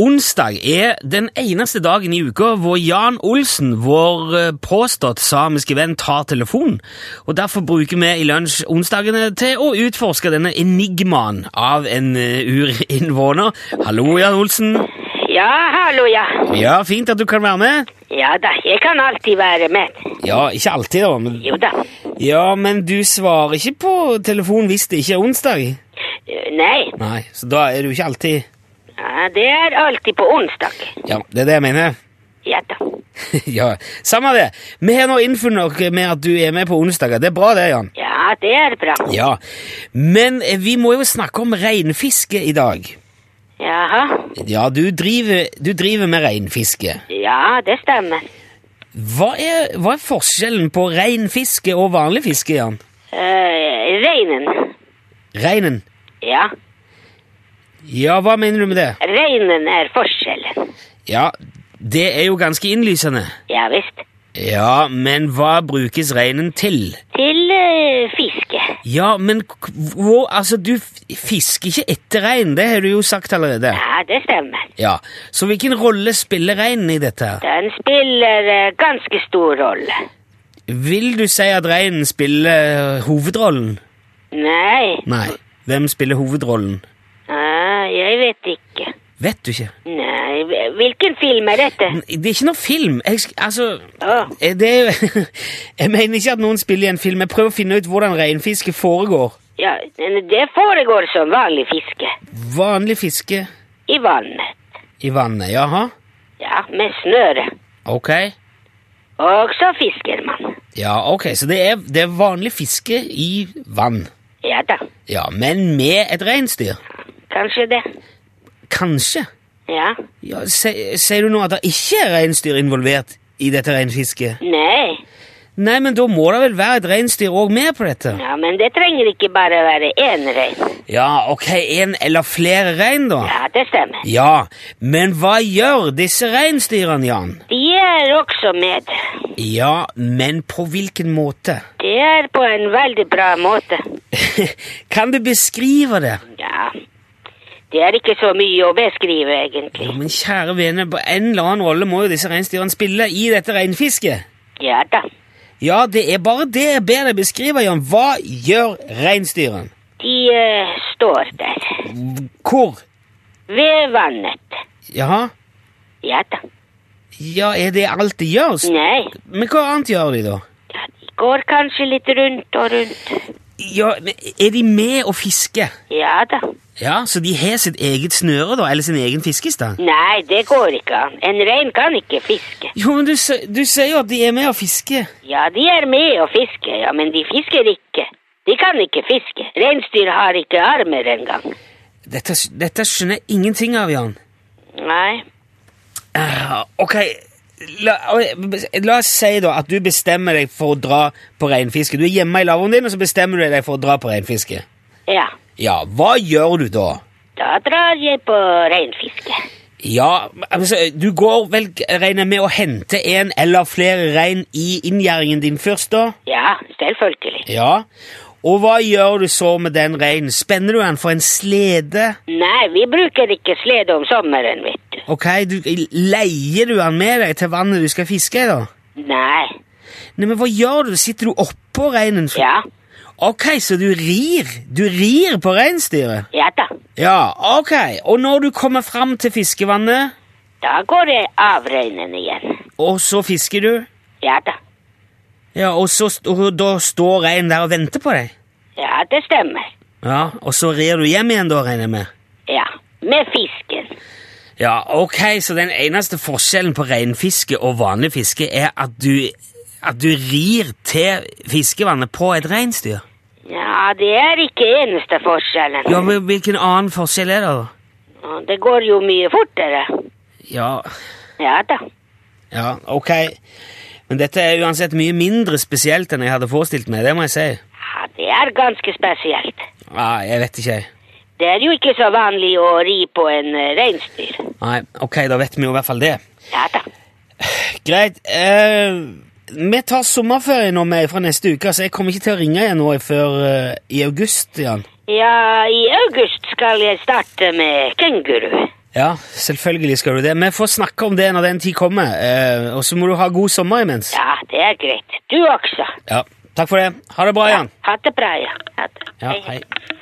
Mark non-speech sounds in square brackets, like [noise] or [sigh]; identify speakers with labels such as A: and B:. A: Onsdag er den eneste dagen i uka hvor Jan Olsen, vår eh, påstått samiske venn, tar telefon. Og Derfor bruker vi i lunsj onsdagene til å utforske denne enigmaen av en eh, urinnvåner. Hallo, Jan Olsen.
B: Ja, hallo, ja.
A: Ja, Fint at du kan være med.
B: Ja da, jeg kan alltid være med.
A: Ja, ikke alltid, da. Men,
B: Jo da.
A: ja, men du svarer ikke på telefon hvis det ikke er onsdag.
B: Eh, Nei,
A: Nei, Så da er du ikke alltid
B: ja, det er alltid på onsdag.
A: Ja, det er det jeg mener. [laughs]
B: Ja da.
A: ja, Samme det. Vi har nå innfunnet oss med at du er med på onsdager. Det er bra, det, Jan.
B: Ja, det er bra.
A: Ja, Men eh, vi må jo snakke om reinfiske i dag.
B: Jaha.
A: Ja, du driver, du driver med reinfiske.
B: Ja, det stemmer.
A: Hva er, hva er forskjellen på reinfiske og vanlig fiske, Jan?
B: Eh, reinen.
A: Reinen?
B: Ja,
A: Ja, hva mener du med det?
B: reinen er forskjellen.
A: Ja, det er jo ganske innlysende.
B: Ja visst.
A: Ja, men hva brukes reinen til?
B: Til eh, fiske.
A: Ja, men k- hvor Altså, du f- fisker ikke etter rein, det har du jo sagt allerede.
B: Ja, det stemmer.
A: Ja, Så hvilken rolle spiller reinen i dette? her?
B: Den spiller eh, ganske stor rolle.
A: Vil du si at reinen spiller øh, hovedrollen?
B: Nei,
A: Nei. Hvem spiller hovedrollen?
B: ah, jeg vet ikke.
A: Vet du ikke?
B: Nei, hvil- hvilken film er dette?
A: N- Det er ikke noe film. Jeg, sk- altså
B: Åh.
A: eh, det er, jo- [laughs] Jeg mener ikke at noen spiller i en film. Jeg prøver å finne ut hvordan reinfiske foregår.
B: Ja, men det foregår som vanlig fiske.
A: Vanlig fiske
B: I vannet.
A: i vannet. Jaha?
B: Ja, med snøre.
A: Ok.
B: Og så fisker man.
A: Ja, ok. Så det er, det er vanlig fiske i vann.
B: Ja da,
A: Ja, men med et reinsdyr?
B: kanskje det.
A: Kanskje.
B: Ja.
A: Ja, se- Sier du nå at det ikke er reinsdyr involvert i dette reinfisket?
B: Nei.
A: Nei, men da må det vel være et reinsdyr òg med på dette?
B: Ja, men det trenger ikke bare være én rein.
A: Ja, ok, en eller flere rein, da?
B: Ja, det stemmer.
A: Ja, men hva gjør disse reinsdyrene, Jan?
B: De er også med.
A: Ja, men på hvilken måte? [laughs]
B: Det er på en veldig bra måte.
A: kan du beskrive det?
B: Ja. Det er ikke så mye å beskrive, egentlig.
A: Jo, men kjære vene, på en eller annen rolle må jo disse reinsdyrene spille i dette reinfisket.
B: Ja da.
A: Ja, det er bare det jeg ber deg beskrive, Jan. Hva gjør reinsdyrene?
B: De eh, står der.
A: Hvor?
B: Ved vannet.
A: Jaha?
B: Ja da.
A: Ja, er det alt de gjør? S-
B: Nei.
A: Men hva annet gjør de, da?
B: Ja, de går kanskje litt rundt og rundt.
A: Ja, men Er de med å fiske?
B: Ja da.
A: Ja, Så de har sitt eget snøre, da? Eller sin egen fiskestang?
B: Nei, det går ikke an. En rein kan ikke fiske.
A: Jo, men du, se- du sier jo at de er med å fiske.
B: Ja, de er med og fisker, ja, men de fisker ikke. De kan ikke fiske. Reinsdyr har ikke armer engang.
A: Dette, dette skjønner jeg ingenting av, Jan.
B: Nei.
A: Eh, ok, la, la oss si da at du bestemmer deg for å dra på reinfiske. Du er hjemme i lavvoen din, og så bestemmer du deg for å dra på reinfiske.
B: Ja,
A: Ja, hva gjør du da?
B: da drar jeg på reinfiske.
A: Ja, altså, du går vel, regner jeg med, å hente en eller flere rein i inngjerdingen din først, da?
B: Ja, selvfølgelig.
A: Ja. Og hva gjør du så med den reinen? Spenner du den for en slede?
B: Nei, vi bruker ikke slede om sommeren, vet du.
A: Ok, du, Leier du den med deg til vannet du skal fiske i, da?
B: Nei.
A: Nei, men hva gjør du? Sitter du oppå reinen?
B: Ja,
A: Ok, så du rir? Du rir på reinsdyret?
B: ja da.
A: Ja, ok. Og når du kommer fram til fiskevannet,
B: Da går jeg av reinen igjen.
A: og så fisker du?
B: Ja da.
A: Ja, og, så, st- og da står reinen der og venter på deg?
B: Ja, det stemmer.
A: Ja, og så rir du hjem igjen da, regner jeg med?
B: Ja, med fisken.
A: Ja, ok, så den eneste forskjellen på reinfiske og vanlig fiske er at du, at du rir til fiskevannet på et reinsdyr?
B: Ja, det er ikke eneste forskjellen.
A: Ja, men hvilken annen forskjell er det da?
B: Ja, Det går jo mye fortere.
A: Ja,
B: Ja da.
A: ja, ok. Men dette er uansett mye mindre spesielt enn jeg hadde forestilt meg, det må jeg si.
B: Ja, det er ganske spesielt.
A: Ja, jeg vet ikke, jeg.
B: Det er jo ikke så vanlig å ri på en eh, reinsdyr.
A: Nei, ok, da vet vi jo i hvert fall det.
B: Ja da.
A: Greit, eh, vi tar sommerferie nå med fra neste uke, så jeg kommer ikke til å ringe igjen nå før eh, i august, Jan.
B: Ja, i august skal jeg starte med kenguru.
A: Ja, selvfølgelig skal du det. Vi får snakke om det når den tid kommer. Eh, og så må du ha god sommer imens.
B: Ja, det er greit. Du også.
A: Ja. Takk for det. Ha det bra, Jan.
B: Ha det bra, ja. Ha det.
A: Ja, hei.